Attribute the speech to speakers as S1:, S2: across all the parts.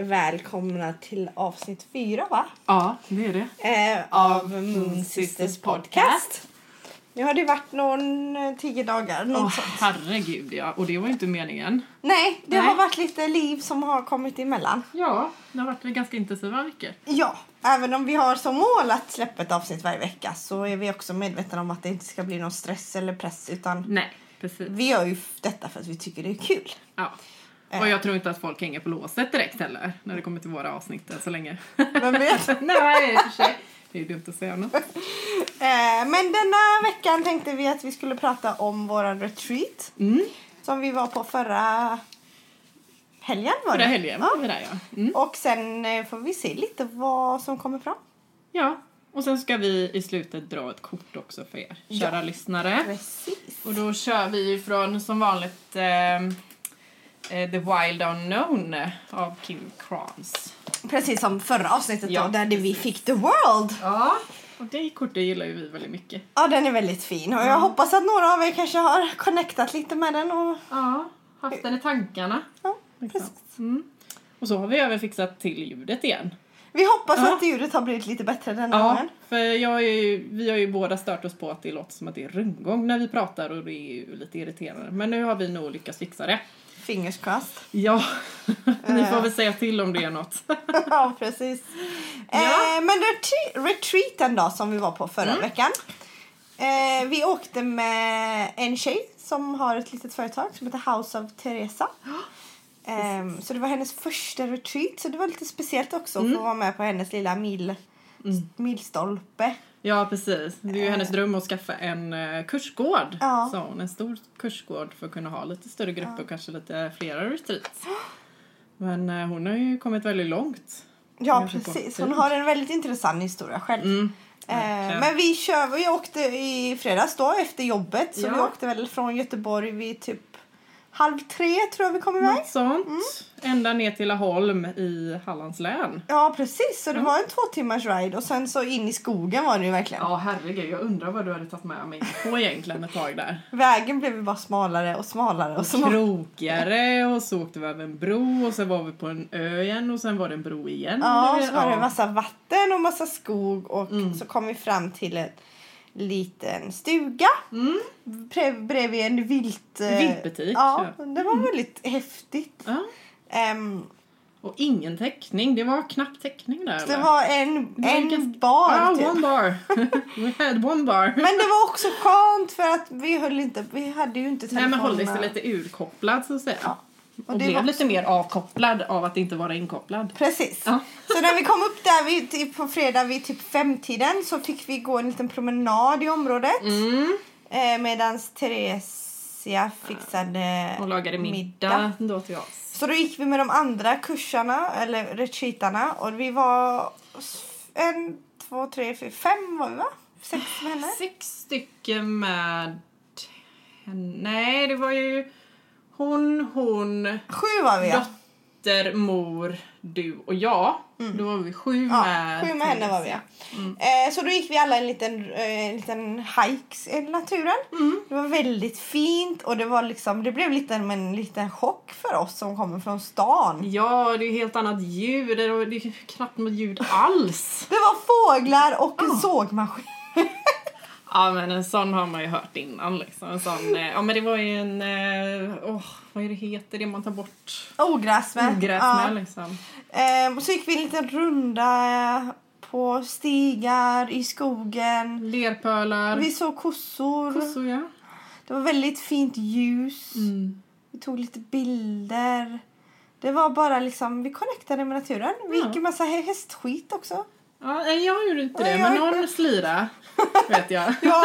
S1: välkomna till avsnitt fyra va?
S2: Ja, det är det.
S1: Eh, av Moon Sisters podcast. Nu har det varit någon eh, tio dagar. något
S2: Åh,
S1: sånt.
S2: herregud ja. Och det var ju inte meningen.
S1: Nej, det
S2: Nej.
S1: har varit lite liv som har kommit emellan.
S2: Ja, det har varit ganska intensiva veckor.
S1: Ja, även om vi har som mål att släppa ett avsnitt varje vecka så är vi också medvetna om att det inte ska bli någon stress eller press utan
S2: Nej, precis.
S1: vi gör ju f- detta för att vi tycker det är kul.
S2: Ja.
S1: Eh.
S2: Och jag tror inte att folk hänger på låset direkt heller när det kommer till våra avsnitt än så länge.
S1: Vem vet?
S2: Nej, i och för sig. Det är ju dumt att säga något.
S1: Eh, men denna veckan tänkte vi att vi skulle prata om våran retreat
S2: Mm.
S1: som vi var på förra helgen var det.
S2: Förra helgen var vi där ja. Mm.
S1: Och sen eh, får vi se lite vad som kommer fram.
S2: Ja, och sen ska vi i slutet dra ett kort också för er
S1: Ja.
S2: kära lyssnare.
S1: Precis.
S2: Och då kör vi ju från som vanligt ehm, eh, The Wild Unknown av Kim Kranz.
S1: Precis som förra avsnittet
S2: Ja,
S1: då där det vi fick The World.
S2: Ja. Och det kortet gillar ju vi väldigt mycket.
S1: Ja den är väldigt fin och jag
S2: Mm.
S1: hoppas att några av er kanske har connectat lite med den. Och,
S2: Ja, haft den i tankarna.
S1: ja, precis.
S2: Mm. Och så har vi även fixat till ljudet igen.
S1: Vi hoppas
S2: Ja.
S1: att ljudet har blivit lite bättre denna
S2: Ja,
S1: gången.
S2: för jag är ju, vi har ju båda stört oss på att det låter som att det är rundgång när vi pratar och det är ju lite irriterande. Men nu har vi nog lyckats fixa det.
S1: Fingers crossed.
S2: Ja, ni
S1: Eh.
S2: får väl säga till om det är något.
S1: ja, precis.
S2: Ja. Mm.
S1: Eh, men retreat, retreaten då som vi var på förra veckan. Eh, vi åkte med en tjej som har ett litet företag som heter House of Teresa. Ehm, så det var hennes första retreat så det var lite speciellt också att få
S2: Mm.
S1: vara med på hennes lilla mil, milstolpe.
S2: Ja, precis. Det är ju hennes dröm att skaffa en eh, kursgård,
S1: Ja.
S2: sa hon. En stor kursgård för att kunna ha lite större grupper och kanske lite flera retreats. Men eh, hon har ju kommit väldigt långt.
S1: Ja
S2: Jag fick
S1: precis,
S2: gå.
S1: hon har en väldigt intressant historia själv.
S2: Mm.
S1: Eh,
S2: Verkligen.
S1: men vi kör, vi åkte i fredags då efter jobbet så
S2: Ja.
S1: vi åkte väl från Göteborg vid typ halv tre tror jag vi kom iväg.
S2: Något sånt.
S1: Mm.
S2: Ända ner till Laholm i Hallands län.
S1: Ja precis, så det
S2: Mm.
S1: var en två timmars ride och sen så in i skogen var det ju verkligen.
S2: Ja, herregud. Jag undrar vad du hade tagit med mig på egentligen ett tag där.
S1: Vägen blev ju bara smalare och smalare och smalare.
S2: Krokigare och så åkte vi över en bro och sen var vi på en ö igen och sen var det en bro igen.
S1: Ja,
S2: Det-
S1: så var det massa vatten och massa skog och
S2: Mm.
S1: så kom vi fram till en liten stuga
S2: Mm.
S1: pre- bredvid en vilt... eh,
S2: Viltbutik, Mm.
S1: Ja, det var väldigt häftigt.
S2: ja.
S1: Ehm,
S2: Och ingen täckning. Det var knappt täckning där.
S1: det
S2: va?
S1: var typ- en,
S2: var
S1: en
S2: ganska-
S1: bar
S2: ah,
S1: typ.
S2: one bar. We had one bar.
S1: Men det var också skönt för att vi höll inte, vi hade ju inte
S2: Nej men håll dig
S1: telefonerna.
S2: lite urkopplad så att säga.
S1: Ja.
S2: Och,
S1: det
S2: blev
S1: var
S2: lite mer avkopplad av att inte vara inkopplad.
S1: Precis.
S2: Ja.
S1: Så när vi kom upp där vid, typ på fredag vid typ femtiden så fick vi gå en liten promenad i området.
S2: Mm.
S1: Eh, Medan Theresia fixade
S2: Och lagade middag då till oss.
S1: Så då gick vi med de andra kursarna, eller retreatarna. Och vi var en, två, tre, fyra, fem var vi va? Sex med henne.
S2: Sex stycken med henne. Nej det var ju hon, hon,
S1: Sju var vi ja.
S2: dotter, mor, du och jag. Då var vi Mm. sju
S1: ja
S2: med
S1: sju med henne var vi ja. Eh, så då gick vi alla en liten, eh, en liten hike i naturen. Det var väldigt fint och det var liksom, det blev lite en, en liten chock för oss som kommer från stan.
S2: Ja, det är ju helt annat ljud. Det är det är knappt något ljud alls.
S1: Det var fåglar och en sågmaskin.
S2: Ja men en sån har man ju hört innan liksom. En sån, eh, ja men det var ju en, eh, åh vad är det heter det man tar bort
S1: Ogräs med.
S2: ogräs
S1: Ja.
S2: med liksom.
S1: Ehm, och så gick vi en liten runda på stigar, i skogen.
S2: Lerpölar.
S1: Vi såg kossor.
S2: Så ja.
S1: Det var väldigt fint ljus.
S2: Mm.
S1: Vi tog lite bilder. Det var bara liksom, vi connectade med naturen. Vi
S2: Ja.
S1: gick en massa hä- hästskit också.
S2: Ja, nej, jag gjorde inte det,
S1: Nej,
S2: men
S1: jag-
S2: någon slira vet jag.
S1: Ja,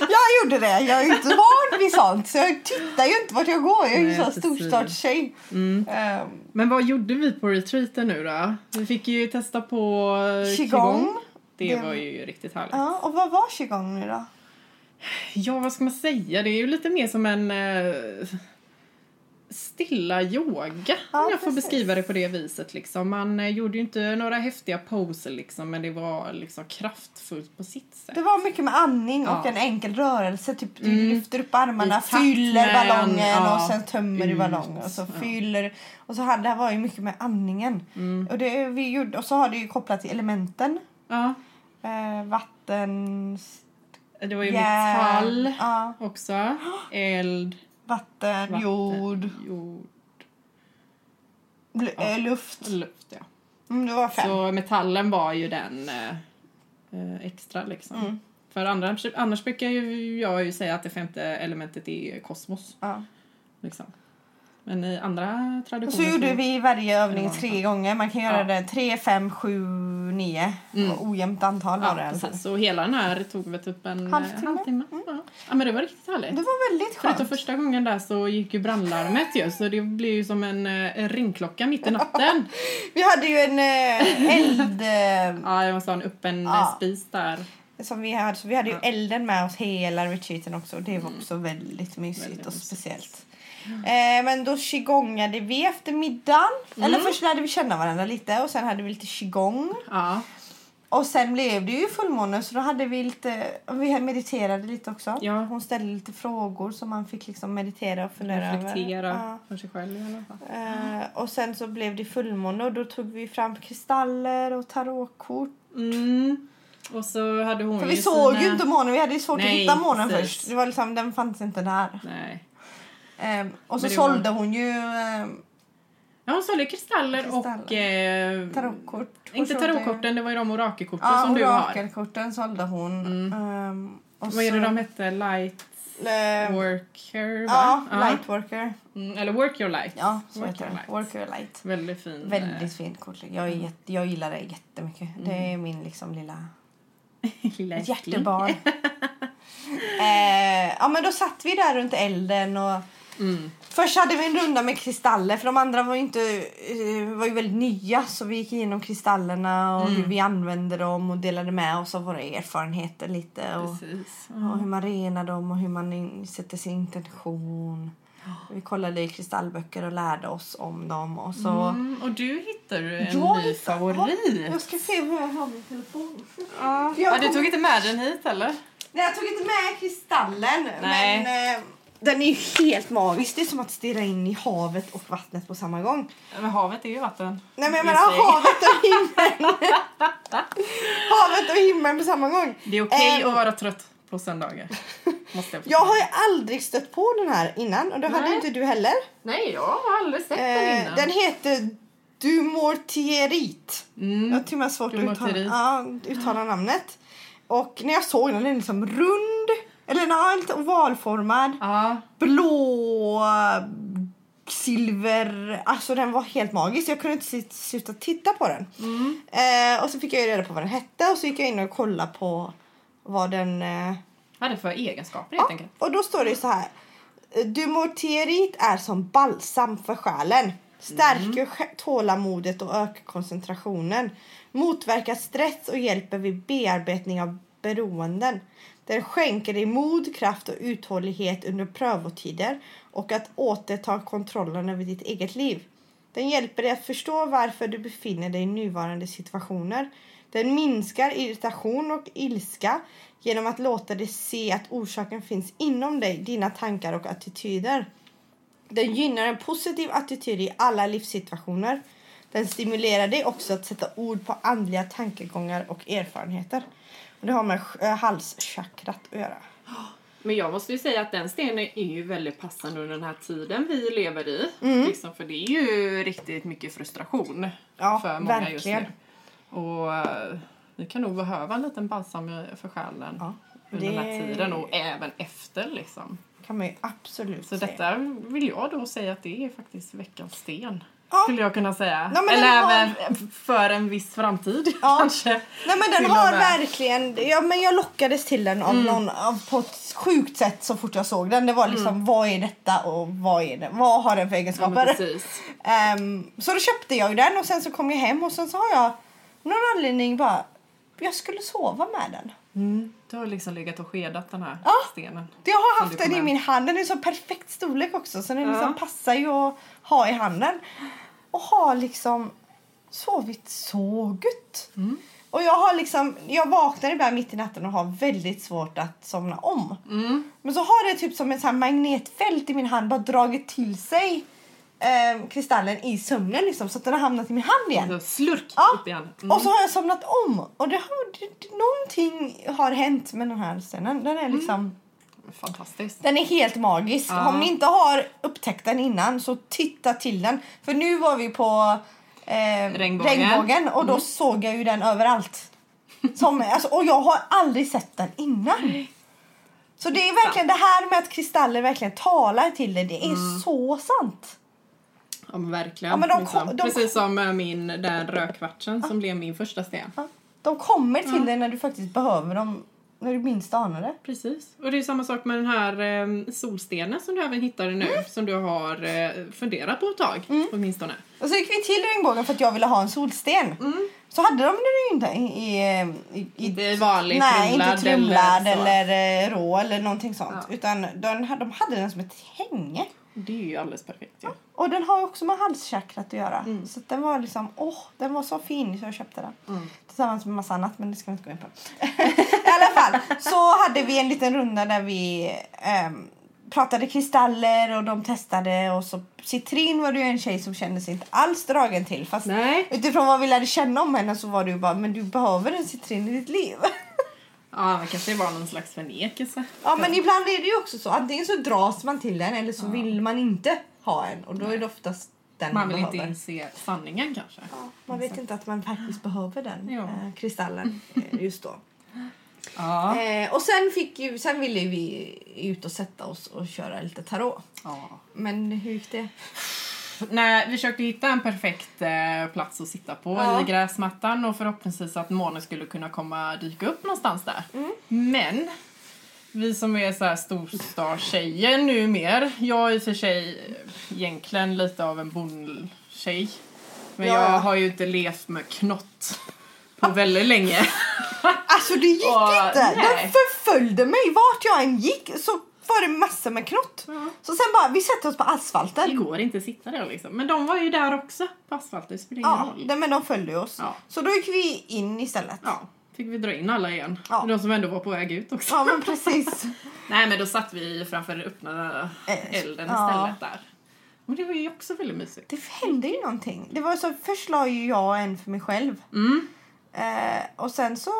S1: jag gjorde det. Jag är ju inte van vid sånt. Så jag tittar ju inte vart jag går. Jag är ju
S2: Nej,
S1: en sån
S2: precis.
S1: storstadstjej.
S2: Mm.
S1: Ehm,
S2: Men vad gjorde vi på retreaten nu då? Vi fick ju testa på eh,
S1: Qigong.
S2: Det,
S1: Det-
S2: var ju riktigt härligt. Ja.
S1: ja, och vad var qigong nu då?
S2: vad ska man säga? Det är ju lite mer som en... Eh, stilla yoga,
S1: Ja,
S2: om jag får
S1: precis.
S2: beskriva det på det viset. Liksom. Man eh, gjorde ju inte några häftiga poser, liksom, men det var liksom kraftfullt på sitt sätt.
S1: Det var mycket med andning och
S2: Ja.
S1: en enkel rörelse. Typ du lyfter upp armarna,
S2: I takt
S1: fyller
S2: med
S1: ballongen
S2: en- ja,
S1: och sen tömmer du
S2: ut,
S1: ballongen. Och så
S2: ja.
S1: fyller och så här, det här var ju mycket med andningen.
S2: Mm.
S1: Och, det, vi gjorde, och så har det ju kopplat till elementen.
S2: Ja,
S1: Eh, vatten,
S2: det var ju
S1: järn,
S2: metall
S1: ja,
S2: också, eld,
S1: vatten,
S2: Vatten.
S1: jord,
S2: jord,
S1: bl- eh, luft.
S2: luft. Ja.
S1: Mm, det var fem.
S2: Så metallen var ju den eh, eh, extra liksom.
S1: Mm.
S2: För annars, annars brukar ju jag ju säga att det femte elementet är kosmos.
S1: Ja.
S2: Liksom. Men i andra
S1: Och
S2: traditioner...
S1: så gjorde vi varje övning
S2: Ja.
S1: tre gånger. Man kan göra
S2: Ja.
S1: det tre, fem, sju, nio.
S2: Mm.
S1: Och Ojämnt antal var det i
S2: Ja,
S1: alla fall.
S2: precis. Så hela den här tog väl typ en
S1: Halvtimme. Mm.
S2: halvtimme. halvtimme. Ja. ja, men det var riktigt härligt.
S1: Det var väldigt
S2: Förutom
S1: skönt.
S2: första gången där så gick ju brandlarmet ju så det blev ju som en, eh, en ringklocka mitt i natten.
S1: Vi hade ju en eh, eld eh,
S2: ja, det var en sån öppen eh,
S1: Ja.
S2: spis där.
S1: som vi hade. Så vi hade ju
S2: Ja. Mm.
S1: elden med oss hela retreaten också. Och det var också väldigt mysigt
S2: Väldigt
S1: och
S2: mysigt.
S1: speciellt. Eh, men då qigongade vi efter middagen.
S2: Mm.
S1: Eller först lärde vi känna varandra lite och sen hade vi lite qigong.
S2: Ja,
S1: Och sen blev det ju fullmåne så då hade vi lite, vi mediterade lite också.
S2: Ja.
S1: Hon ställde lite frågor som man fick liksom meditera och fundera
S2: reflektera
S1: över. Ja.
S2: för sig själv i alla fall.
S1: Eh, och sen så blev det fullmåne och då tog vi fram kristaller och tarotkort.
S2: Mm. Och så hade hon
S1: För vi
S2: ju
S1: såg
S2: sina...
S1: ju inte månen, vi hade ju svårt att
S2: Nej,
S1: hitta månen
S2: precis.
S1: först. Det var liksom, den fanns inte där.
S2: Nej.
S1: Ehm, och så
S2: Men det var-
S1: sålde hon ju ehm,
S2: Ja, hon sålde kristaller, och... Eh,
S1: tarotkort. Hon
S2: Inte
S1: sålde-
S2: tarotkorten, det var ju de orakelkorten
S1: Ja,
S2: som du har. Mm.
S1: orakelkorten sålde hon. Ehm, och
S2: Vad är det
S1: så-
S2: de hette? Light
S1: Ehm,
S2: worker, va?
S1: Ja, lightworker.
S2: Mm, eller work your light.
S1: Ja, så
S2: Work
S1: heter
S2: your
S1: det.
S2: light. Mm.
S1: Worker light.
S2: Väldigt fin. eh,
S1: Väldigt fint kortlek. Jag, är jätte, jag gillar det jättemycket.
S2: Mm.
S1: Det är min liksom lilla
S2: lilla
S1: ett
S2: äckling.
S1: hjärtebarn. eh, ja, men då satt vi där runt elden och
S2: Mm.
S1: Först hade vi en runda med kristaller för de andra var ju, inte, eh, var ju väldigt nya så vi gick igenom kristallerna och
S2: Mm.
S1: hur vi använde dem och delade med oss av våra erfarenheter lite och,
S2: Precis. Mm.
S1: och hur man renar dem och hur man in, sätter sin intention. Vi kollade i kristallböcker och lärde oss om dem och så...
S2: Mm, och du hittar ju en
S1: Jag
S2: ny
S1: hittar-
S2: favorit.
S1: Jag ska se hur jag har min telefon.
S2: Ja.
S1: jag
S2: Ja, du tog inte med den hit eller?
S1: Nej, jag tog inte med kristallen.
S2: Nej.
S1: Men eh, den är ju helt magisk. Det är som att stirra in i havet och vattnet på samma gång.
S2: Men havet är ju vatten.
S1: Nej, men jag
S2: Just
S1: menar
S2: det.
S1: havet och himlen. havet och himlen på samma gång.
S2: Det är okej
S1: Ehm.
S2: att vara trött på söndagar. Måste jag
S1: Jag har ju
S2: förklara.
S1: aldrig stött på den här innan och det hade
S2: Nej.
S1: inte du heller.
S2: Nej, jag har aldrig sett den
S1: Eh,
S2: innan.
S1: den heter Dumortierit. Jag har
S2: Mm.
S1: till och med svårt att uttala,
S2: Dumortierit.
S1: ja, uttala namnet. Och när jag såg den, den är liksom rund, eller den är lite ovalformad.
S2: Ja.
S1: blå silver. Alltså den var helt magisk. Jag kunde inte sit- sluta titta på den.
S2: Mm.
S1: Eh, och så fick jag ju reda på vad den hette och så gick jag in och kollade på vad den... Eh,
S2: Vad är det för egenskaper helt enkelt?
S1: och då står det så här. Dumortierit är som balsam för själen.
S2: Mm.
S1: Stärker sj- tålamodet och ökar koncentrationen. Motverkar stress och hjälper vid bearbetning av beroenden. Den skänker dig mod, kraft och uthållighet under prövotider och att återta kontrollen över ditt eget liv. Den hjälper dig att förstå varför du befinner dig i nuvarande situationer. Den minskar irritation och ilska genom att låta dig se att orsaken finns inom dig, dina tankar och attityder. Den gynnar en positiv attityd i alla livssituationer. Den stimulerar dig också att sätta ord på andliga tankegångar och erfarenheter. Och det har med eh, halschakrat att göra.
S2: Men jag måste ju säga att den stenen är ju väldigt passande under den här tiden vi lever i.
S1: Mm.
S2: Liksom, för det är ju riktigt mycket frustration
S1: Ja,
S2: för många just
S1: verkligen.
S2: nu. Och eh, vi kan nog behöva en liten balsam i- för själen
S1: Ja,
S2: under den här
S1: det-
S2: tiden och även efter liksom.
S1: kan man ju absolut
S2: Så
S1: säga.
S2: detta vill jag då säga att det är faktiskt veckans sten.
S1: Ja.
S2: Skulle jag kunna säga.
S1: Ja, men
S2: Eller
S1: den har-
S2: även för en viss framtid
S1: Ja.
S2: kanske.
S1: Nej men den
S2: Till och
S1: har
S2: med. Mm.
S1: verkligen, ja, men jag lockades till den av någon av, på ett sjukt sätt så fort jag såg den. Det var liksom vad är detta och vad är det, vad har den för
S2: Mm. Ja, men
S1: egenskaper?
S2: precis.
S1: Ehm, så då köpte jag ju den och sen så kom jag hem och sen så har jag av någon anledning bara, jag skulle sova med den.
S2: Du har liksom legat och skedat den här
S1: Ja.
S2: stenen.
S1: Jag har
S2: Som
S1: haft
S2: du
S1: den i
S2: kommer-
S1: min hand. Den är så perfekt storlek också så den
S2: Ja.
S1: liksom passar ju att ha i handen. Och har liksom sovit så gött.
S2: Mm.
S1: Och jag har liksom, jag vaknar ibland mitt i natten och har väldigt svårt att somna om.
S2: Mm.
S1: Men så har det typ som ett så här magnetfält i min hand bara dragit till sig eh, kristallen i sömnen liksom så att den har hamnat i min hand igen.
S2: Så slurk
S1: Ja.
S2: upp Mm. igen.
S1: Och så har jag somnat om och det har, det, det, någonting har hänt med den här stenen. Den
S2: Mm.
S1: är liksom
S2: Fantastiskt.
S1: den är helt magisk.
S2: Ja.
S1: Om ni inte har upptäckt den innan så titta till den. För nu var vi på eh,
S2: Regnbågen. Mm.
S1: regnbågen och då såg jag ju den överallt. Som, alltså, och jag har aldrig sett den innan. Så det är verkligen det här med att kristaller verkligen talar till dig. Det är
S2: Mm.
S1: så sant.
S2: Ja men verkligen.
S1: Ja, men de
S2: Liksom.
S1: kom- de-
S2: Precis som eh, min, den rödkvartsen som blev min första sten.
S1: Ja. De kommer till dig när du faktiskt behöver dem. När du minst anar det.
S2: Precis. Och det är samma sak med den här eh, solstenen som du även hittade nu.
S1: Mm.
S2: Som du har eh, funderat på ett tag åtminstone.
S1: Och så gick vi till regnbågen för att jag ville ha en solsten. Så hade de den ju inte i... i, i, i
S2: Mm. Inte i vanlig
S1: Nej,
S2: trumlad
S1: inte trumlad
S2: eller så.
S1: eller, eh, rå eller någonting sånt. Utan den, här- de hade den som ett hänge.
S2: Det är ju alldeles perfekt ju.
S1: Och den har ju också med halschakrat att göra.
S2: Mm.
S1: Så att den var liksom, åh, den var så fin så jag köpte den.
S2: Mm.
S1: Tillsammans med massa annat men det ska vi inte gå in på. I alla fall så hade vi en liten runda där vi ehm, pratade kristaller och de testade och så citrin var det ju en tjej som kände sig inte alls dragen till. Fast
S2: Nej.
S1: utifrån vad vi lärde känna om henne så var det ju bara, men du behöver en citrin i ditt liv.
S2: Ja, men kanske det var någon slags förnekelse.
S1: Ja men ibland är det ju också så. Antingen så dras man till den eller så vill man inte ha en. Och då är det oftast den man,
S2: Man vill inte
S1: behöver.
S2: inse sanningen kanske.
S1: Ja, man vet inte att man faktiskt behöver den
S2: Ja.
S1: eh, kristallen eh, just då.
S2: Ja.
S1: Eh, och sen, fick ju, sen ville ju vi ut och sätta oss och köra lite tarot.
S2: ja.
S1: Men hur gick det?
S2: Nej, vi försökte hitta en perfekt eh, plats att sitta på
S1: Ja.
S2: i gräsmattan och förhoppningsvis att månen skulle kunna komma dyka upp någonstans där. Men vi som är så här storstadstjejer nu mer. Jag är i och för sig eh, egentligen lite av en bondtjej. Men
S1: Ja, ja.
S2: jag har ju inte levt med knott på väldigt länge.
S1: Alltså det gick
S2: Åh,
S1: inte! Den
S2: nej.
S1: förföljde mig. Vart jag än gick så var det massor med knott.
S2: Ja.
S1: Så sen bara, vi sätter oss på asfalten.
S2: Det går inte att sitta där liksom. Men de var ju där också på asfalten. Det spelar ingen
S1: Ja,
S2: roll.
S1: men de följde ju oss.
S2: Ja.
S1: Så då gick vi in istället.
S2: Ja, fick vi dra in alla igen.
S1: Ja.
S2: De som ändå var på väg ut också.
S1: Ja men precis.
S2: Nej men då satt vi framför den öppna
S1: Eh,
S2: elden
S1: ja.
S2: istället där. Men det var ju också väldigt mysigt.
S1: Det hände ju någonting. Det var så, först la ju jag en för mig själv.
S2: Mm.
S1: Eh, och sen så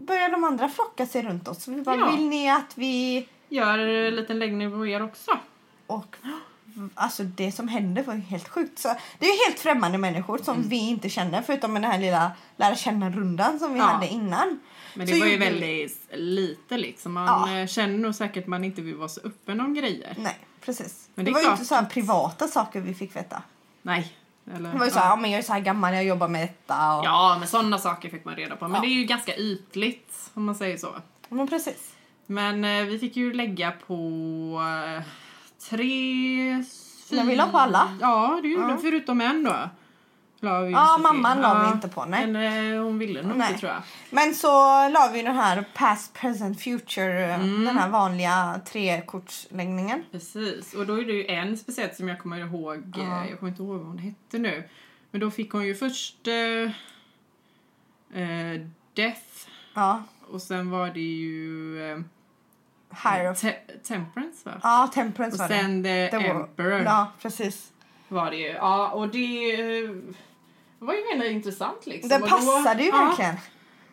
S1: började de andra flocka sig runt oss. Vi bara,
S2: Ja.
S1: vill ni att vi...
S2: Gör en liten läggning på er också.
S1: Och alltså det som hände var ju helt sjukt. Så, det är ju helt främmande människor som
S2: Mm.
S1: vi inte känner förutom med den här lilla lära känna-rundan som vi
S2: Ja.
S1: hade innan.
S2: Men det
S1: Så
S2: var ju
S1: gjorde vi-
S2: väldigt lite liksom. Man
S1: Ja.
S2: eh, känner nog säkert att man inte vill vara så öppen om grejer.
S1: Nej, precis.
S2: Men
S1: det,
S2: det är
S1: var ju
S2: klart
S1: inte så här privata saker vi fick veta.
S2: Nej. Eller,
S1: Det var ju så här, ja. men jag är så här gammal, jag jobbar med detta. Och...
S2: Ja men sådana saker fick man reda på. Men
S1: Ja.
S2: det är ju ganska ytligt om man säger så.
S1: Men precis.
S2: Men eh, vi fick ju lägga på eh, tre... Mm.
S1: Men vi la på alla.
S2: Ja, det gjorde vi. Förutom en då. La vi ju
S1: Ja,
S2: inte till.
S1: mamman la vi inte på, nej.
S2: Men eh, hon ville nog
S1: Nej.
S2: inte tror jag.
S1: Men så la vi den här past, present, future, eh,
S2: Mm.
S1: den här vanliga trekortsläggningen.
S2: Precis. Och då är det ju en speciellt som jag kommer ihåg. eh, Jag kommer inte ihåg vad hon hette nu. Men då fick hon ju först eh, eh, Death.
S1: Ja,
S2: Och sen var det ju eh,
S1: Hierof-
S2: te- Temperance va?
S1: Ja, Temperance
S2: Mm. Och
S1: var
S2: sen
S1: det.
S2: the,
S1: det var-
S2: Emperor.
S1: Ja, precis.
S2: var det ju. Ja, och det eh, var ju väldigt intressant liksom.
S1: Den
S2: Och då-
S1: passade ju
S2: ja.
S1: verkligen.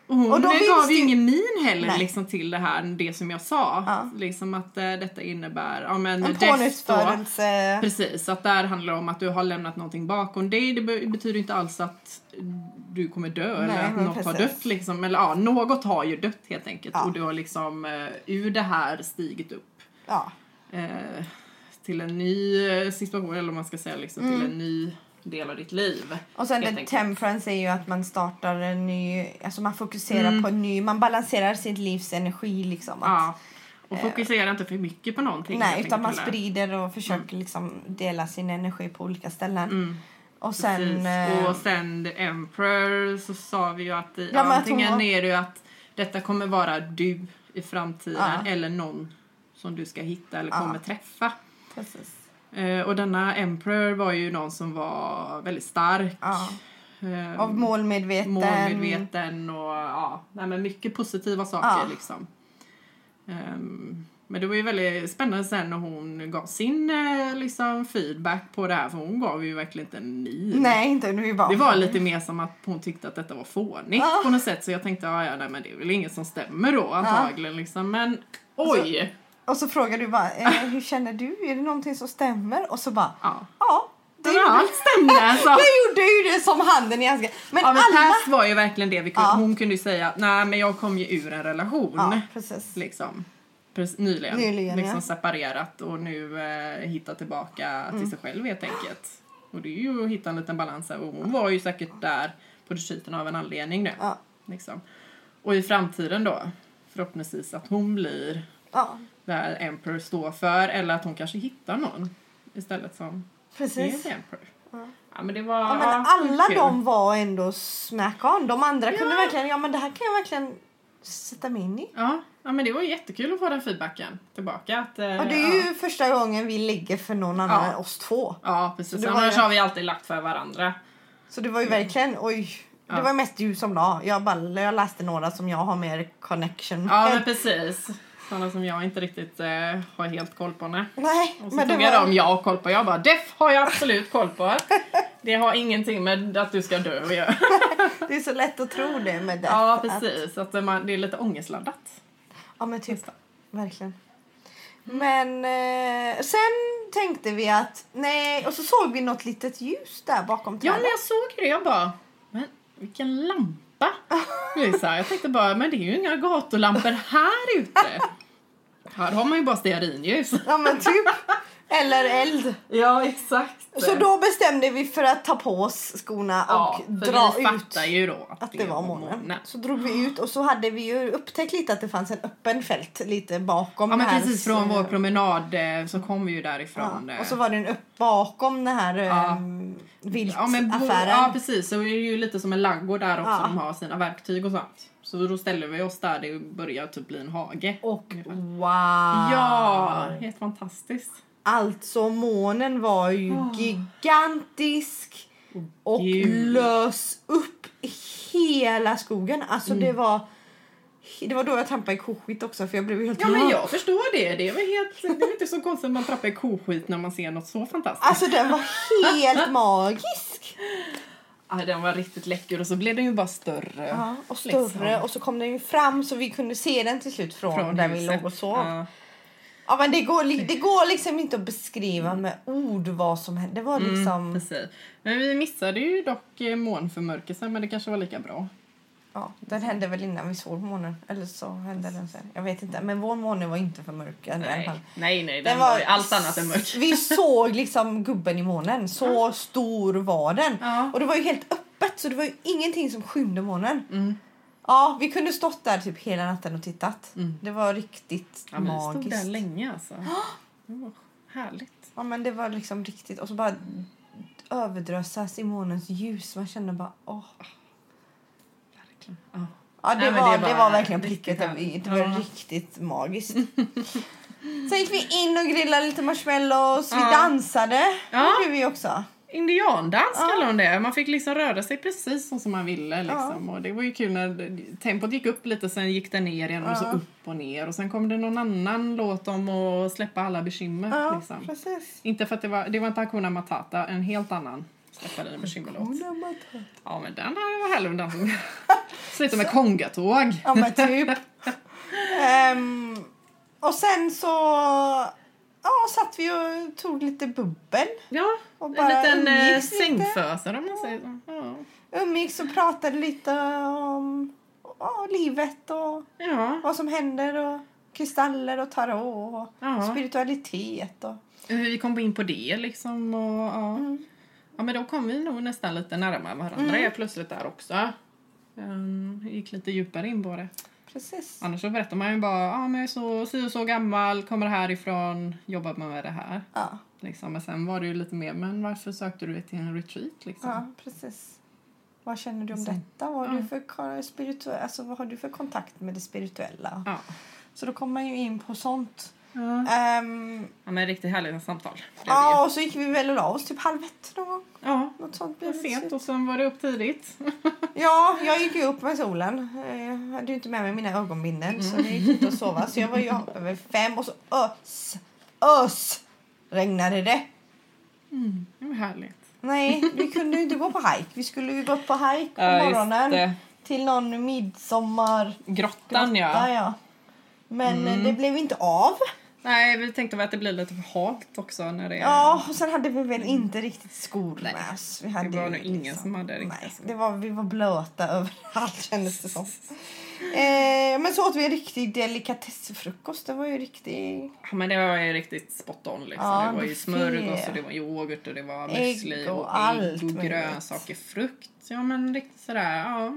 S2: Och hon
S1: Och då
S2: Mm. gav
S1: visste
S2: ju
S1: ju-
S2: ingen min heller
S1: Nej.
S2: liksom till det här, det som jag sa.
S1: Ja.
S2: Liksom att eh, detta innebär, ja men
S1: En
S2: death då.
S1: pånyttfödelse.
S2: Precis, att där handlar det om att du har lämnat någonting bakom dig. Det be- betyder inte alls att du kommer dö
S1: Nej,
S2: eller att
S1: men
S2: något har
S1: precis.
S2: dött liksom. Eller ja, något har ju dött helt enkelt.
S1: Ja.
S2: Och du har liksom eh, ur det här stigit upp
S1: Ja.
S2: eh, till en ny eh, situation, eller om man ska säga liksom,
S1: Mm.
S2: till en ny del av ditt liv.
S1: Och sen
S2: helt
S1: det
S2: enkelt.
S1: temperance är ju att man startar en ny, alltså man fokuserar
S2: Mm.
S1: på en ny, man balanserar sitt livs energi liksom. Att,
S2: Ja. Och fokusera inte för mycket på någonting.
S1: eh, nej,
S2: helt
S1: utan man
S2: enkelt, eller?
S1: sprider och försöker
S2: Mm.
S1: liksom dela sin energi på olika ställen. Och sen...
S2: Precis.
S1: eh,
S2: Och sen The Emperor så sa vi ju att i,
S1: Ja, men att hon
S2: antingen
S1: var-
S2: är det ju att detta kommer vara du i framtiden
S1: Ja.
S2: eller någon som du ska hitta eller
S1: Ja.
S2: kommer träffa.
S1: Precis.
S2: Eh, och denna Emperor var ju någon som var väldigt stark.
S1: Ja.
S2: eh,
S1: Av målmedveten.
S2: målmedveten och ja, nej, men mycket positiva saker
S1: Ja.
S2: liksom. Ehm, men det var ju väldigt spännande sen när hon gav sin eh, liksom, feedback på det här för hon gav ju verkligen inte en min.
S1: Nej, inte nu är vi barn.
S2: Det var lite mer som att hon tyckte att detta var fånigt
S1: Ja.
S2: på något sätt så jag tänkte "Ah, ja, ja nej, men det är väl inget som stämmer då antagligen liksom men
S1: Alltså,
S2: oj!
S1: Och så frågar du bara, eh, hur känner du? Är det någonting som stämmer? Och så bara,
S2: Ja.
S1: ja. Det
S2: Men
S1: gjorde,
S2: allt stämde alltså!
S1: jag gjorde ju det som handen i handsken. Men,
S2: Ja men
S1: alla...
S2: Pers var ju verkligen det vi kunde,
S1: Ja.
S2: hon kunde ju säga nej men jag kom ju ur en relation.
S1: Ja, precis.
S2: liksom, precis, nyligen,
S1: Nyligen,
S2: liksom
S1: ja.
S2: separerat och nu eh, hittat tillbaka
S1: Mm.
S2: till sig själv helt enkelt. Och det är ju att hitta en liten balans här. och hon var ju säkert där på retreaten av en anledning nu.
S1: Ja.
S2: Liksom. Och i framtiden då, förhoppningsvis att hon blir
S1: Ja,
S2: där Emperor står för eller att hon kanske hittar någon istället som
S1: precis.
S2: är Emperor. Ja. men det var
S1: Ja, men
S2: ja,
S1: alla
S2: kul.
S1: de var ändå smack on. De andra kunde verkligen, ja men det här kan jag verkligen sätta mig in i.
S2: Ja, ja, men det var jättekul att få den feedbacken tillbaka. Att, eh,
S1: Och det är ju första gången vi ligger för någon annan
S2: Ja.
S1: än oss två.
S2: Ja, precis.
S1: det var
S2: Annars
S1: ju-
S2: har vi alltid lagt för varandra.
S1: Så det var ju
S2: Mm.
S1: verkligen, oj. Det var mest du som la. Jag, bara, jag läste några som jag har mer connection
S2: Ja,
S1: med.
S2: men precis. Sådana som jag inte riktigt eh, har helt koll på. Nej.
S1: Nej,
S2: Och så
S1: men det
S2: tog jag
S1: var...
S2: dem jag har koll på. Jag bara, def har jag absolut koll på. Det har ingenting med att du ska dö att göra.
S1: Det är så lätt att tro det med det.
S2: Ja, precis. Att det- man, det är lite ångestladdat.
S1: Ja men typ, verkligen. Men eh, sen tänkte vi att nej, och så såg vi något litet ljus där bakom
S2: Ja,
S1: trädet.
S2: när jag såg det, jag bara, men vilken lampa. Det är så här, jag tänkte bara, men det är ju inga gatulampor här ute. Här har man ju bara stearinljus.
S1: Ja men typ. Eller eld.
S2: Ja, exakt.
S1: Så då bestämde vi för att ta på oss skorna
S2: ja,
S1: och
S2: för
S1: dra
S2: vi
S1: ut.
S2: fattar ju då att,
S1: Att det var månen.
S2: månen.
S1: Så drog vi ut och så hade vi ju upptäckt lite att det fanns en öppen fält lite bakom.
S2: Ja men
S1: här.
S2: precis, från vår promenad eh, så kom vi ju därifrån.
S1: Ja,
S2: eh.
S1: Och så var den upp bakom den här
S2: Ja.
S1: ja.
S2: ja, men bo-
S1: viltaffären.
S2: ja precis, så är det ju lite som en laggård där också
S1: Ja.
S2: de har sina verktyg och sånt. Så då ställer vi oss där, det börjar typ bli en hage.
S1: Och wow!
S2: Ja, helt fantastiskt.
S1: Alltså månen var ju
S2: Ah.
S1: gigantisk och
S2: gul.
S1: lös upp hela skogen. Alltså
S2: Mm.
S1: det var... Det var då jag trampade i koskit också för jag blev ju helt...
S2: Ja men jag förstår det, det är väl helt, det är inte så konstigt att man trampar i koskit när man ser något så fantastiskt.
S1: Alltså den var helt magisk!
S2: Ja, den var riktigt läcker och så blev den ju bara större.
S1: Ja, och
S2: liksom,
S1: större och så kom den ju fram så vi kunde se den till slut från,
S2: från
S1: där vi
S2: huset.
S1: låg och sov. Ja.
S2: Ja.
S1: men det går, li- det går liksom inte att beskriva med ord vad som hände. Det var liksom...
S2: Mm. Precis. Men vi missade ju dock eh, månförmörkelsen men det kanske var lika bra.
S1: Ja, den hände väl innan vi såg månen. Eller så hände den sen. Jag vet inte. Men vår måne var inte för mörk.
S2: Nej, nej, nej den,
S1: Den
S2: var,
S1: var-
S2: ju allt annat än mörk.
S1: Vi såg liksom gubben i månen. Så stor var den.
S2: Ja.
S1: Och det var ju helt öppet så det var ju ingenting som skymde månen.
S2: Mm.
S1: Ja, vi kunde stått där typ hela natten och tittat. Det var riktigt
S2: Mm. Ja, men vi stod där
S1: magiskt.
S2: länge alltså. Det var härligt.
S1: Ja, men det var liksom riktigt. Och så bara överdrösas i månens ljus. Man kände bara åh.
S2: Verkligen. Ja.
S1: Ja, det,
S2: Nej, men
S1: var,
S2: det
S1: det,
S2: var
S1: var, verkligen
S2: riktigt
S1: pricket över i.
S2: härligt.
S1: Det var
S2: Ja.
S1: riktigt magiskt. Sen gick vi in och grillade lite marshmallows. Vi
S2: Ja.
S1: dansade.
S2: Ja.
S1: Det gjorde vi också.
S2: Indiandans kallar hon det. Man fick liksom röra sig precis så som man ville. Liksom. Och det var ju kul när det- tempot gick upp lite, sen gick det ner igen och så upp och ner. Och sen kom det någon annan låt om att släppa alla bekymmer.
S1: Ja,
S2: liksom.
S1: precis.
S2: Inte för att det var, det var inte Hakuna Matata, en helt annan släppa dina bekymmer-låt. Ja men den här var härlig. Den som slutar med kongatåg.
S1: Ja, men typ. Ehm, och sen så ja, satt vi och tog lite bubbel.
S2: Ja,
S1: Och bara
S2: en liten eh,
S1: umgicks lite.
S2: sängfösare om man säger så. Ja.
S1: Umgicks och pratade lite om ja, livet och
S2: Ja.
S1: vad som händer. Och kristaller och tarot och
S2: Ja.
S1: spiritualitet. Och,
S2: Hur vi kom in på det liksom och ja.
S1: Mm.
S2: ja men då kom vi nog nästan lite närmare varandra mm. plötsligt där också. Ehm, gick lite djupare in på det.
S1: precis.
S2: Annars så berättar man ju bara ja men jag är så, si och så gammal, kommer härifrån, jobbar med det här.
S1: Ja.
S2: Liksom. Men sen var det ju lite mer, men varför sökte du till en retreat liksom?
S1: Ja, precis. Vad känner du om detta? Vad har, du för kar- spiritu- alltså, vad har du för kontakt med det spirituella?
S2: Ja. Mm.
S1: Så då kom man ju in på sånt.
S2: Ja.
S1: Ehm,
S2: Ja, men riktigt härliga samtal. blev det ju.
S1: ja, och så gick vi väl och la oss typ halv ett någon gång.
S2: ja.
S1: Något sånt
S2: Det var
S1: blev det. typ.
S2: sent och sen var det upp tidigt.
S1: Ja, jag gick ju upp med solen. Eh, Jag hade ju inte med mig mina ögonbindeln så jag gick inte att sova. Så jag var ju uppe vid fem och så ös, ös regnade det.
S2: Mm. Det var härligt.
S1: Nej, vi kunde ju inte gå på hike. Vi skulle ju gå upp på hike på morgonen till någon midsommar.
S2: Grottan ja.
S1: ja. Men eh, det blev inte av.
S2: Nej, vi tänkte väl att det blir lite för halt också när det är...
S1: Ja, och sen hade vi väl inte riktigt skor
S2: Mm. Nej,
S1: med oss. Vi
S2: Det var
S1: ju
S2: nog ingen
S1: liksom-
S2: som hade riktigt.
S1: Nej, det var, vi var blöta överallt kändes det som. Eh, men så åt vi en riktig delikatessfrukost. Det var ju riktig
S2: Ja, men det var ju riktigt spot on liksom.
S1: Ja,
S2: det var ju
S1: buffé.
S2: smörgås och det var yoghurt och det var
S1: Ägg
S2: müsli
S1: och
S2: och,
S1: allt
S2: ägg och
S1: möjligt.
S2: grönsaker, frukt. Ja men riktigt sådär, ja.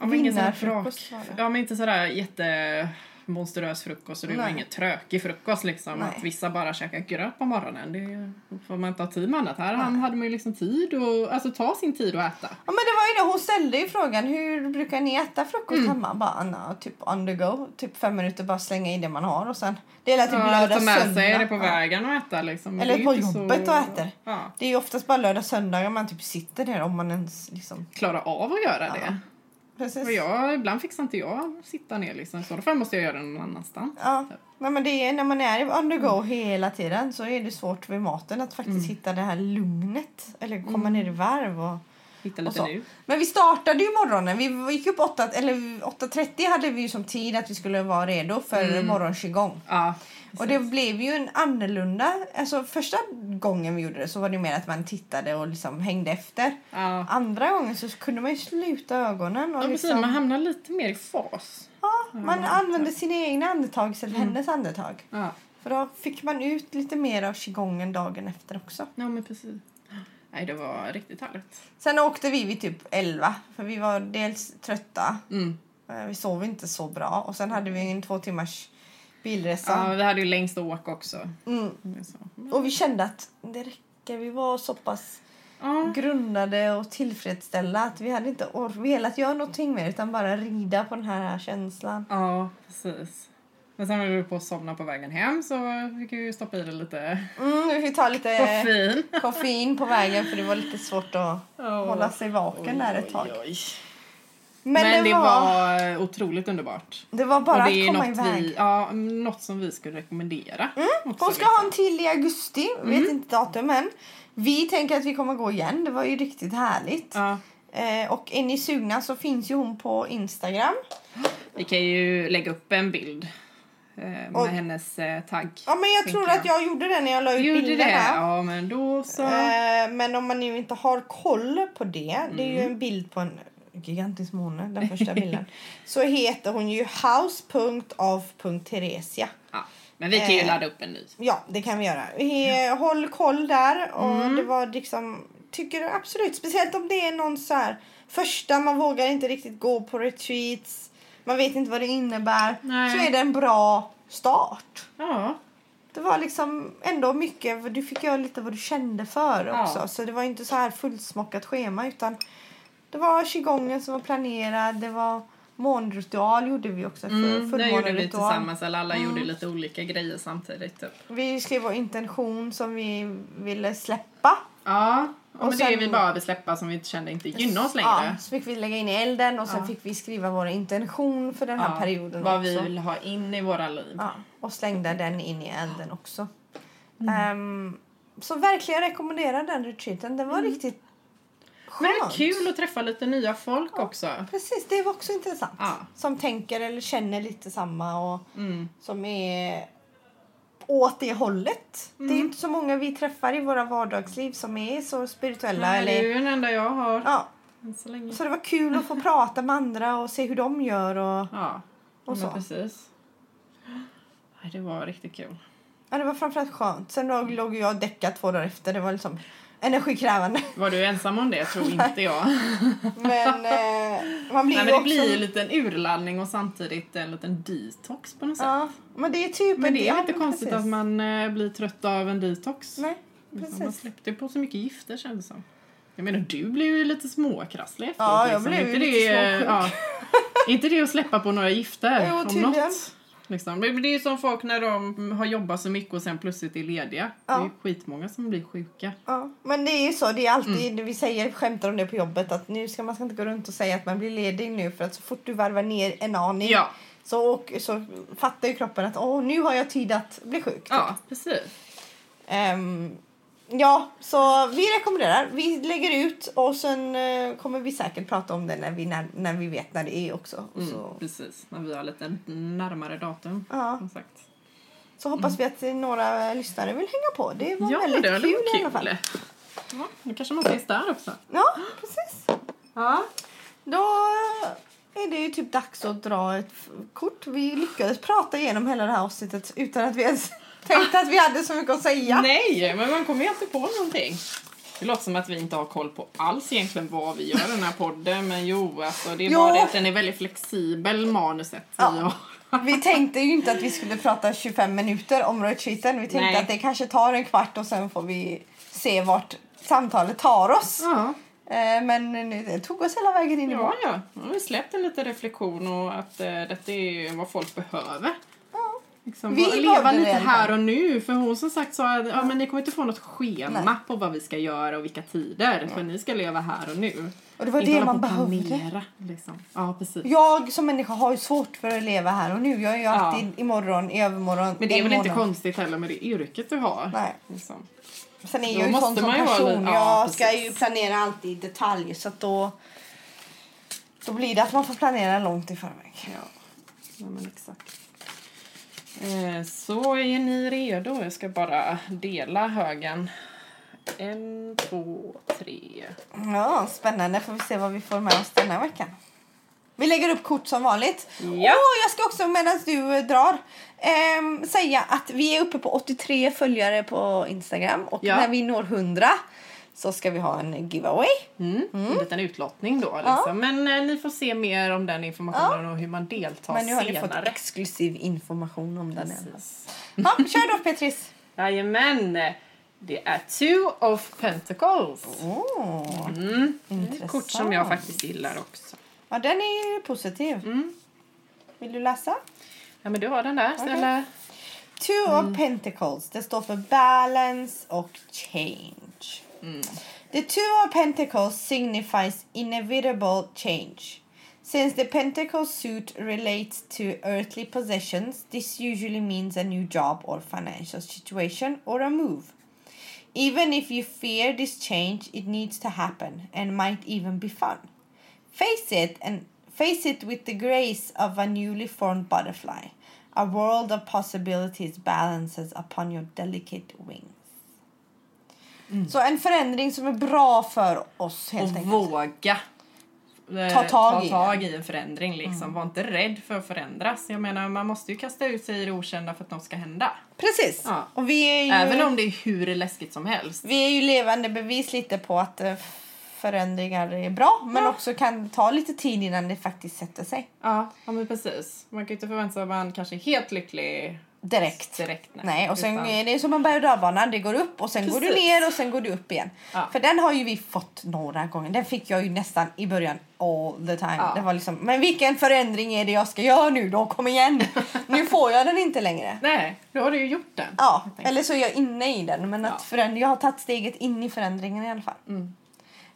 S2: ja men ingen sån här
S1: vinnarfrukost.
S2: vrak-
S1: var det.
S2: Ja men inte sådär jättemonsterös frukost och det var
S1: Nej.
S2: ingen trökig frukost liksom.
S1: Nej.
S2: Att vissa bara käkar gröt på morgonen, det är ju- får man inte ha tid med annat. Här han hade man ju liksom tid och, alltså ta sin tid att äta.
S1: Ja, men det var ju det. Hon ställde ju frågan hur brukar ni äta frukost
S2: Mm.
S1: hemma? Bara, Anna, typ on the go. Typ fem minuter bara slänga i det man har och sen. Det är typ
S2: Ja,
S1: lördag
S2: ta med sig
S1: söndag.
S2: det på
S1: Ja.
S2: vägen och äta liksom.
S1: Eller
S2: Det är
S1: på
S2: ju inte så-
S1: jobbet och äter.
S2: Ja,
S1: Det är ju oftast bara lördag söndagar man typ sitter ner om man ens liksom.
S2: klara av att göra det.
S1: Precis.
S2: Och jag, ibland fixar inte jag sitta ner liksom. Så därför måste jag göra det någon annanstans.
S1: Ja. Nej, men det är, när man är on the go hela tiden så är det svårt vid maten att faktiskt hitta det här lugnet. Eller komma ner i varv. Och,
S2: Hitta
S1: och
S2: lite
S1: så.
S2: nu.
S1: Men vi startade ju morgonen. Vi gick upp 8, eller 8.30 hade vi ju som tid att vi skulle vara redo för mm. morgonskigång.
S2: Ja.
S1: Och det blev ju en annorlunda... Alltså första gången vi gjorde det så var det mer att man tittade och liksom hängde efter.
S2: ja.
S1: Andra gången så kunde man ju sluta ögonen. Och
S2: ja precis,
S1: liksom,
S2: man hamnar lite mer i fas.
S1: ja, man Mm. använde sina egna andetag istället för hennes andetag.
S2: Ja,
S1: För då fick man ut lite mer av qigongen dagen efter också.
S2: ja men precis. Nej, det var riktigt härligt.
S1: Sen åkte vi vid typ 11 för vi var dels trötta,
S2: Mm.
S1: eh, vi sov inte så bra och sen hade vi en två timmars bilresa.
S2: Ja, vi hade ju längst att åka också.
S1: Mm.
S2: Så.
S1: Och vi kände att det räcker, vi var så pass
S2: Ja.
S1: grundade och tillfredsställda att vi hade inte or- velat göra någonting mer utan bara rida på den här känslan.
S2: ja, precis. Men sen höll vi på att somna på vägen hem så fick vi ju stoppa i det lite
S1: Mm, vi fick ta lite
S2: koffein.
S1: koffein på vägen för det var lite svårt att hålla sig vaken där ett tag.
S2: Men,
S1: Men,
S2: det, var... otroligt underbart.
S1: Det var bara
S2: och det är
S1: att komma
S2: något
S1: iväg. Mm,
S2: Vi, ja, något som vi skulle rekommendera. också, liksom.
S1: Hon ska ha en till i augusti.
S2: Mm.
S1: Vet inte datum än. Vi tänker att vi kommer gå igen. Det var ju riktigt härligt.
S2: Ja,
S1: Eh, och är ni sugna så finns ju hon på Instagram.
S2: vi kan ju lägga upp en bild eh, med
S1: Och-
S2: hennes eh, tagg.
S1: Ja, men jag
S2: Tänker
S1: tror att jag gjorde det när jag la ut
S2: Gjorde det?
S1: bilderna.
S2: Ja, men då så.
S1: Eh, men om man nu inte har koll på det. Det är ju
S2: Mm.
S1: en bild på en gigantisk måne, den första bilden. så heter hon ju house.av.teresia.
S2: ja. Men vi kan ju
S1: eh,
S2: ladda upp en ny.
S1: Ja, det kan vi göra. He, Håll koll där. Och
S2: Mm.
S1: det var liksom, tycker jag absolut, speciellt om det är någon så här första, man vågar inte riktigt gå på retreats, man vet inte vad det innebär,
S2: Nej.
S1: så är det en bra start.
S2: Ja,
S1: Det var liksom ändå mycket, för du fick göra lite vad du kände för
S2: Ja.
S1: också. Så det var inte så här fullsmockat schema utan det var qigongen som var planerad, det var månritual gjorde vi också. För Mm.
S2: mm, det gjorde vi
S1: fullmåneritual.
S2: tillsammans. Eller alla gjorde lite olika grejer samtidigt. Typ.
S1: Vi skrev vår intention som vi ville släppa.
S2: Ja, och
S1: Och
S2: men det
S1: sen-
S2: vi bara vill släppa som vi inte kände inte gynnar oss
S1: Ja,
S2: längre.
S1: så fick vi lägga in i elden och sen
S2: Ja.
S1: fick vi skriva vår intention för den här
S2: Ja,
S1: perioden
S2: Vad
S1: också.
S2: vi vill ha in i våra liv.
S1: Ja, och slängde den in i elden också.
S2: Mm.
S1: Ehm, så verkligen rekommenderar den retreaten. Den var riktigt
S2: Mm. Men det
S1: skön.
S2: är kul att träffa lite nya folk också.
S1: Precis, det var också intressant.
S2: Ja.
S1: Som tänker eller känner lite samma och
S2: Mm.
S1: som är åt det hållet. Det är
S2: Mm.
S1: inte så många vi träffar i våra vardagsliv som är så spirituella.
S2: Nej, det är
S1: eller,
S2: ju den enda jag har
S1: ja,
S2: än så länge.
S1: Så det var kul att få prata med andra och se hur de gör. Och,
S2: Ja,
S1: Och
S2: men
S1: så.
S2: precis. Nej, det var riktigt kul.
S1: ja, det var framförallt skönt. Sen låg, låg jag däckad två dagar efter. Det var liksom energikrävande.
S2: Var du ensam om det? Jag tror inte jag.
S1: Men eh, man blir
S2: Nej, men
S1: ju
S2: det
S1: också...
S2: blir ju en liten urladdning och samtidigt en liten detox på något sätt.
S1: ja, men det är typ...
S2: men det är
S1: ja,
S2: inte konstigt
S1: precis.
S2: att man eh, blir trött av en detox.
S1: Nej,
S2: Utan Man
S1: precis.
S2: släppte ju på så mycket gifter kändes det som. Jag menar, du blev ju lite småkrasslig efteråt.
S1: Ja, jag
S2: liksom.
S1: blev
S2: Inte
S1: ju lite
S2: det,
S1: småsjuk.
S2: ja. Är inte det att släppa på några gifter?
S1: Jo,
S2: om
S1: tydligen.
S2: något? Liksom. Men Det är ju som folk när de har jobbat så mycket och sen plötsligt är lediga. Det
S1: Ja.
S2: är
S1: Mm.
S2: ju skitmånga som blir sjuka.
S1: Ja, men det är ju så. Det är alltid,
S2: Mm.
S1: Vi säger, skämtar om det på jobbet att nu ska man ska inte gå runt och säga att man blir ledig nu för att så fort du varvar ner en aning
S2: Ja,
S1: så, och, så fattar ju kroppen att åh, nu har jag tid att bli sjuk.
S2: ja precis.
S1: Ehm, ja, så vi rekommenderar. Vi lägger ut och sen eh, kommer vi säkert prata om det när vi, när, när vi vet när det är också. Och
S2: Mm,
S1: så,
S2: precis. När vi har lite närmare datum.
S1: ja,
S2: Som sagt.
S1: så hoppas vi att eh, några lyssnare vill hänga på. Det var
S2: Ja,
S1: väldigt
S2: det var
S1: kul,
S2: kul
S1: i alla fall.
S2: Ja, nu kanske man ses där också.
S1: Ja, precis.
S2: Ja.
S1: Då är det ju typ dags att dra ett f- kort. Vi lyckades prata igenom hela det här avsnittet utan att vi ens tänkte att vi hade så mycket att säga.
S2: Nej, men man kommer ju alltid på någonting. Det låter som att vi inte har koll på alls egentligen vad vi gör i den här podden. Men jo, alltså, det är
S1: Jo.
S2: bara det att den är väldigt flexibel, manuset.
S1: Ja.
S2: Ja.
S1: Vi tänkte ju inte att vi skulle prata 25 minuter om retreaten. Vi tänkte
S2: Nej.
S1: att det kanske tar en kvart och sen får vi se vart samtalet tar oss.
S2: ja.
S1: Eh, Men det tog oss hela vägen in i
S2: Ja,
S1: vår.
S2: ja. Nu har vi släppt en liten reflektion och att eh, detta är ju vad folk behöver.
S1: Ja.
S2: Liksom,
S1: Vi
S2: bara leva
S1: behövde
S2: lite
S1: det i alla fall.
S2: här och nu. För hon som sagt sa att ja, men ni kommer inte få något schema på vad vi ska göra och vilka tider. För ni ska leva här och nu.
S1: Och det var
S2: Inte
S1: det
S2: hålla
S1: man
S2: på och
S1: behövde.
S2: planera, liksom. Ja, precis.
S1: Jag som människa har ju svårt för att leva här och nu. Jag är ju alltid imorgon, i övermorgon,
S2: Men det är väl inte
S1: imorgon.
S2: konstigt heller med det yrket du har.
S1: Nej.
S2: Liksom.
S1: Sen är
S2: Då
S1: jag ju
S2: måste
S1: sån som
S2: man ju vara
S1: person.
S2: lite- ja,
S1: jag ska
S2: precis.
S1: ju planera allt i detalj. Så att då, då blir det att man får planera långt i förväg.
S2: Ja. ja, men exakt. Eh, så är ni redo? Jag ska bara dela högen. En, två, tre.
S1: Ja, spännande. Får vi se vad vi får med oss den här veckan. Vi lägger upp kort som vanligt.
S2: Ja.
S1: Och jag ska också medan du eh, drar ehm, säga att vi är uppe på 83 följare på Instagram. Och
S2: Ja.
S1: när vi når 100 så ska vi ha en giveaway.
S2: Mm. En liten utlottning då. Liksom. Men eh, ni får se mer om den informationen och hur man deltar
S1: Men nu har ni fått
S2: senare.
S1: exklusiv information om den. i alla fall.
S2: Precis.
S1: Ja, kör då Petris.
S2: Jajamän! Det är Two of Pentacles.
S1: Åh,
S2: Mm.
S1: intressant.
S2: Ett kort som jag faktiskt gillar också.
S1: Ja, den är ju positiv.
S2: Mm.
S1: Vill du läsa?
S2: Ja, men du har den där.
S1: Okej.
S2: Eller?
S1: Two of Pentacles. Det står för balance och change. The Two of Pentacles signifies inevitable change. Since the Pentacle suit relates to earthly possessions, this usually means a new job or financial situation or a move. Even if you fear this change, it needs to happen and might even be fun. Face it and face it with the grace of a newly formed butterfly. A world of possibilities balances upon your delicate wings. Så en förändring som är bra för oss helt
S2: och
S1: enkelt.
S2: våga eh,
S1: Ta tag i
S2: ta tag i en förändring. Liksom. Var inte rädd för att förändras. Jag menar, man måste ju kasta ut sig i det okända för att något ska hända.
S1: Precis.
S2: Ja.
S1: Och vi är ju...
S2: Även om det är hur läskigt som helst.
S1: Vi är ju levande bevis lite på att eh, förändringar är bra men
S2: Ja.
S1: också kan ta lite tid innan det faktiskt sätter sig.
S2: Ja, ja men precis. Man kan ju inte förvänta sig att man kanske är helt lycklig
S1: Direkt.
S2: direkt.
S1: Nej, och sen
S2: Utan-
S1: är det som en berg och dalbana. Det går upp och sen går du
S2: Precis.
S1: ner och sen går du upp igen.
S2: Ja.
S1: För den har ju vi fått några gånger. Den fick jag ju nästan i början all the time.
S2: Ja.
S1: Det var liksom, men vilken förändring är det jag ska göra nu då? Kom igen! nu får jag den inte längre.
S2: Nej, då har du ju gjort den.
S1: Ja,
S2: helt enkelt.
S1: eller så är jag inne i den. Men att föränd- jag har tagit steget in i förändringen i alla fall.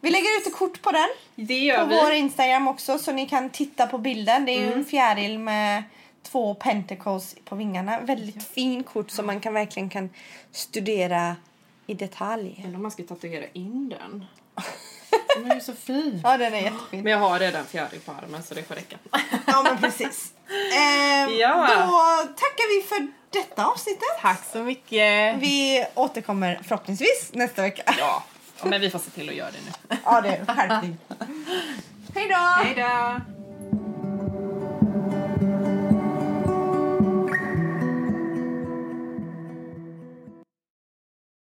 S1: Vi lägger ut ett kort på den.
S2: Det Mm. gör
S1: på
S2: vi. Mm.
S1: vår Instagram också så ni kan titta på bilden. Det är ju en fjäril med två pentacles på vingarna. Väldigt fin kort som man kan verkligen kan studera i detalj.
S2: Undrar om man ska tatuera in den. Den är ju så fin.
S1: Ja, den är jättefin.
S2: Men jag har redan fjäril på armen så det får räcka.
S1: Ja, men precis. Ehm,
S2: Ja.
S1: Då tackar vi för detta avsnittet.
S2: Tack så mycket.
S1: Vi återkommer förhoppningsvis nästa vecka.
S2: Ja, men vi får se till att göra det nu.
S1: Ja, det är skärpning. Hej då!
S2: Hej då!